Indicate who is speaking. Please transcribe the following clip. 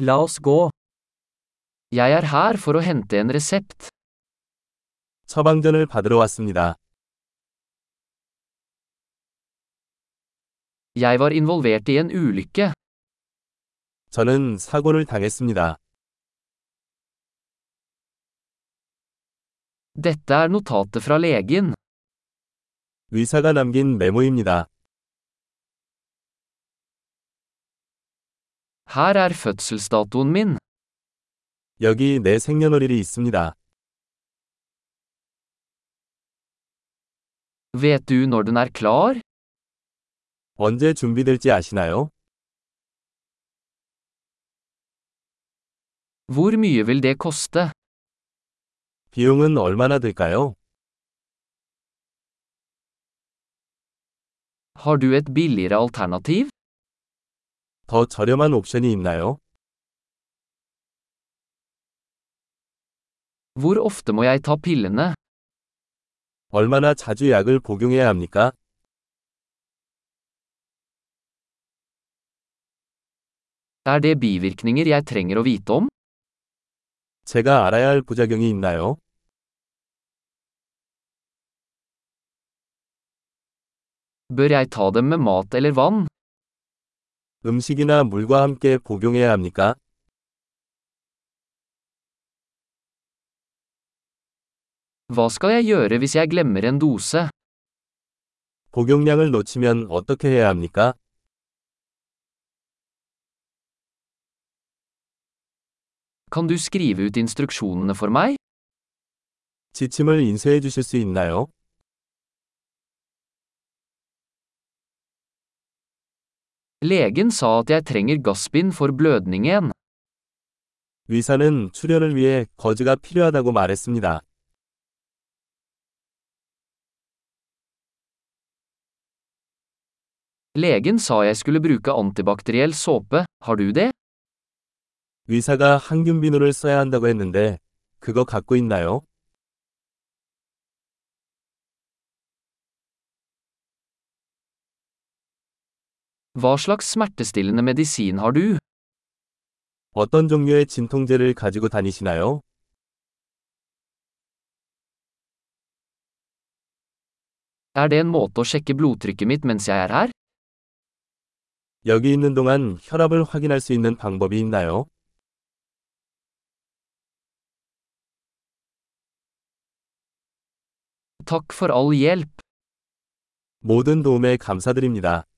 Speaker 1: La oss gå. Jeg er her for å hente en resept.
Speaker 2: 처방전을 받으러 왔습니다.
Speaker 1: Jeg var involvert i en ulykke.
Speaker 2: 저는 사고를 당했습니다.
Speaker 1: Dette er notatet fra legen.
Speaker 2: 의사가 남긴 메모입니다.
Speaker 1: Her er fødselsdatoen min.
Speaker 2: 여기 내 생년월일이 있습니다.
Speaker 1: Vet du når den er klar?
Speaker 2: 언제 준비될지 아시나요?
Speaker 1: Hvor mye vil det koste?
Speaker 2: 비용은 얼마나 들까요?
Speaker 1: Har du et billigere alternativ?
Speaker 2: 더 저렴한 옵션이 있나요?
Speaker 1: Hvor ofte må jeg ta pillene?
Speaker 2: 얼마나 자주 약을 복용해야 합니까?
Speaker 1: Er det bivirkninger jeg trenger å vite om?
Speaker 2: 제가 알아야 할 부작용이 있나요?
Speaker 1: Bør jeg ta dem med mat eller vann?
Speaker 2: 음식이나 물과 함께 복용해야 합니까?
Speaker 1: Hva skal jeg gjøre hvis jeg glemmer en dose?
Speaker 2: 복용량을 놓치면 어떻게 해야 합니까?
Speaker 1: Kan du skrive ut instruksjonene for meg?
Speaker 2: 지침을 인쇄해 주실 수 있나요?
Speaker 1: Legen sa at jeg trenger gassbind for blødningen.
Speaker 2: 의사는 출혈을 위해 거즈가 필요하다고 말했습니다.
Speaker 1: Legen sa jeg skulle bruke antibakteriell såpe, har du det?
Speaker 2: 의사가 항균 비누를 써야 한다고 했는데 그거 갖고 있나요?
Speaker 1: Hva slags smertestillende medisin har du?
Speaker 2: 어떤 종류의 진통제를 가지고 다니시나요?
Speaker 1: Er det en måte å sjekke blodtrykket mitt mens jeg er her?
Speaker 2: 여기 있는 동안 혈압을 확인할 수 있는 방법이 있나요?
Speaker 1: Takk for all hjelp.
Speaker 2: 모든 도움에 감사드립니다.